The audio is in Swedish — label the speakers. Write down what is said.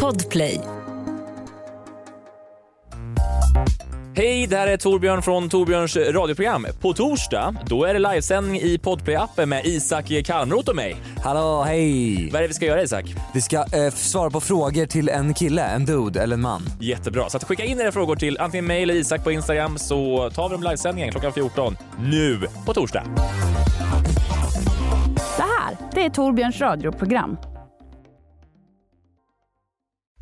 Speaker 1: Podplay.
Speaker 2: Hej, det här är Torbjörn från Torbjörns radioprogram. På torsdag, då är det livesändning i Podplay-appen med Isak Kalmroth och mig.
Speaker 3: Hallå, hej!
Speaker 2: Vad är det vi ska göra Isak?
Speaker 3: Vi ska eh, svara på frågor till en kille, en dude eller en man.
Speaker 2: Jättebra. Så att skicka in era frågor till antingen mig eller Isak på Instagram så tar vi dem livesändningen klockan 14. Nu på torsdag.
Speaker 4: Det här, det är Torbjörns radioprogram.